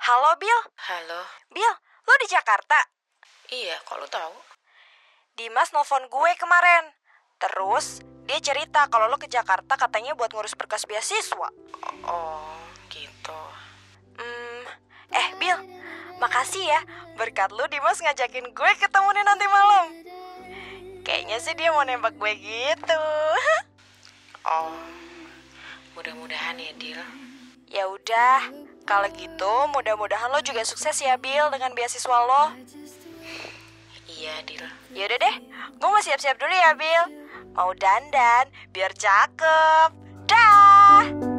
Halo Bill, Halo, Bill, lo di Jakarta? iya kok lu tahu? Dimas nelpon gue kemarin. Terus dia cerita kalau lo ke Jakarta katanya buat ngurus berkas beasiswa. Oh, gitu. Hmm, eh Bill, makasih ya. Berkat lo Dimas ngajakin gue ketemu nih nanti malam. Kayaknya sih dia mau nembak gue gitu. Oh, mudah-mudahan ya, Dil. ya udah, kalau gitu mudah-mudahan lo juga sukses ya Bill dengan beasiswa lo. Iya, Dil. Yaudah deh, gue mau siap-siap dulu ya Bill Mau dandan, biar cakep Dah